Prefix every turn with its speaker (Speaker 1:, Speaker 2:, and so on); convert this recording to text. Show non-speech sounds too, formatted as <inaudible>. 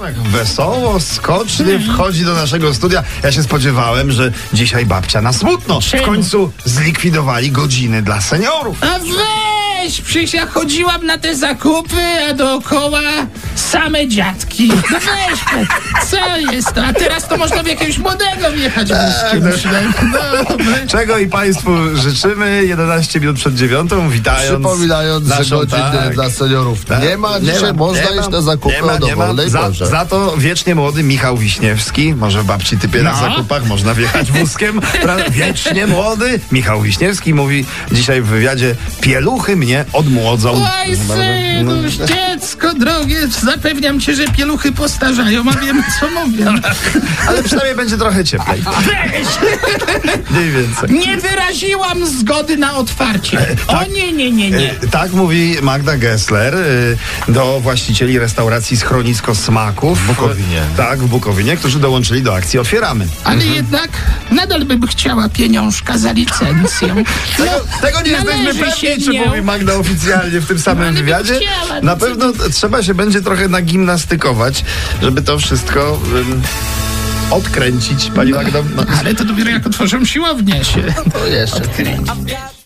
Speaker 1: tak wesoło, skocznie wchodzi do naszego studia. Ja się spodziewałem, że dzisiaj babcia na smutno. W
Speaker 2: Czym?
Speaker 1: końcu zlikwidowali godziny dla seniorów.
Speaker 2: A weź, przecież ja chodziłam na te zakupy, a dookoła same dziadki. No weź, pe- co jest to? A teraz to można w jakiegoś młodego wjechać wózkiem.
Speaker 1: no.
Speaker 2: przynajmniej. Dobra.
Speaker 1: Czego i Państwu życzymy 11 minut przed dziewiątą, witając.
Speaker 3: Przypominając, że
Speaker 1: naszą-
Speaker 3: godziny
Speaker 1: tak,
Speaker 3: dla seniorów
Speaker 1: tak.
Speaker 3: nie ma, dzisiaj
Speaker 1: ma,
Speaker 3: można
Speaker 1: nie
Speaker 3: iść
Speaker 1: ma,
Speaker 3: na zakupy
Speaker 1: nie ma,
Speaker 3: o
Speaker 1: nie ma.
Speaker 3: dowolnej
Speaker 1: za,
Speaker 3: porze.
Speaker 1: za to wiecznie młody Michał Wiśniewski, może w babci typie na
Speaker 2: No.
Speaker 1: zakupach, można wjechać wózkiem. pra- Wiecznie młody Michał Wiśniewski mówi dzisiaj w wywiadzie, pieluchy mnie odmłodzą.
Speaker 2: Oj,
Speaker 1: no.
Speaker 2: synu, dziecko drogie, zapewniam cię, że pieluchy postarzają, a wiem, co mówią.
Speaker 1: Ale przynajmniej będzie trochę cieplej. Mniej więcej.
Speaker 2: Nie wyraziłam zgody na otwarcie. O nie, nie, nie, nie.
Speaker 1: tak. E, Tak mówi Magda Gessler e, do właścicieli restauracji Schronisko Smaków. W
Speaker 3: Bukowinie.
Speaker 1: Tak, w Bukowinie, którzy dołączyli do akcji Otwieramy.
Speaker 2: Ale jednak nadal bym chciała pieniążka za licencję.
Speaker 1: <laughs>
Speaker 2: No,
Speaker 1: Tego, tego nie
Speaker 2: należy
Speaker 1: jesteśmy
Speaker 2: się
Speaker 1: pewni, czy
Speaker 2: nią. No,
Speaker 1: mówi Magda oficjalnie w tym samym
Speaker 2: Ale bym
Speaker 1: wywiadzie.
Speaker 2: chciała,
Speaker 1: Na
Speaker 2: no co
Speaker 1: pewno t- trzeba się będzie trochę nagimnastykować, żeby to wszystko ym, odkręcić, pani Magda. No.
Speaker 2: Ale to dopiero jak otworzę siłownię się
Speaker 3: To jeszcze.
Speaker 2: kręci.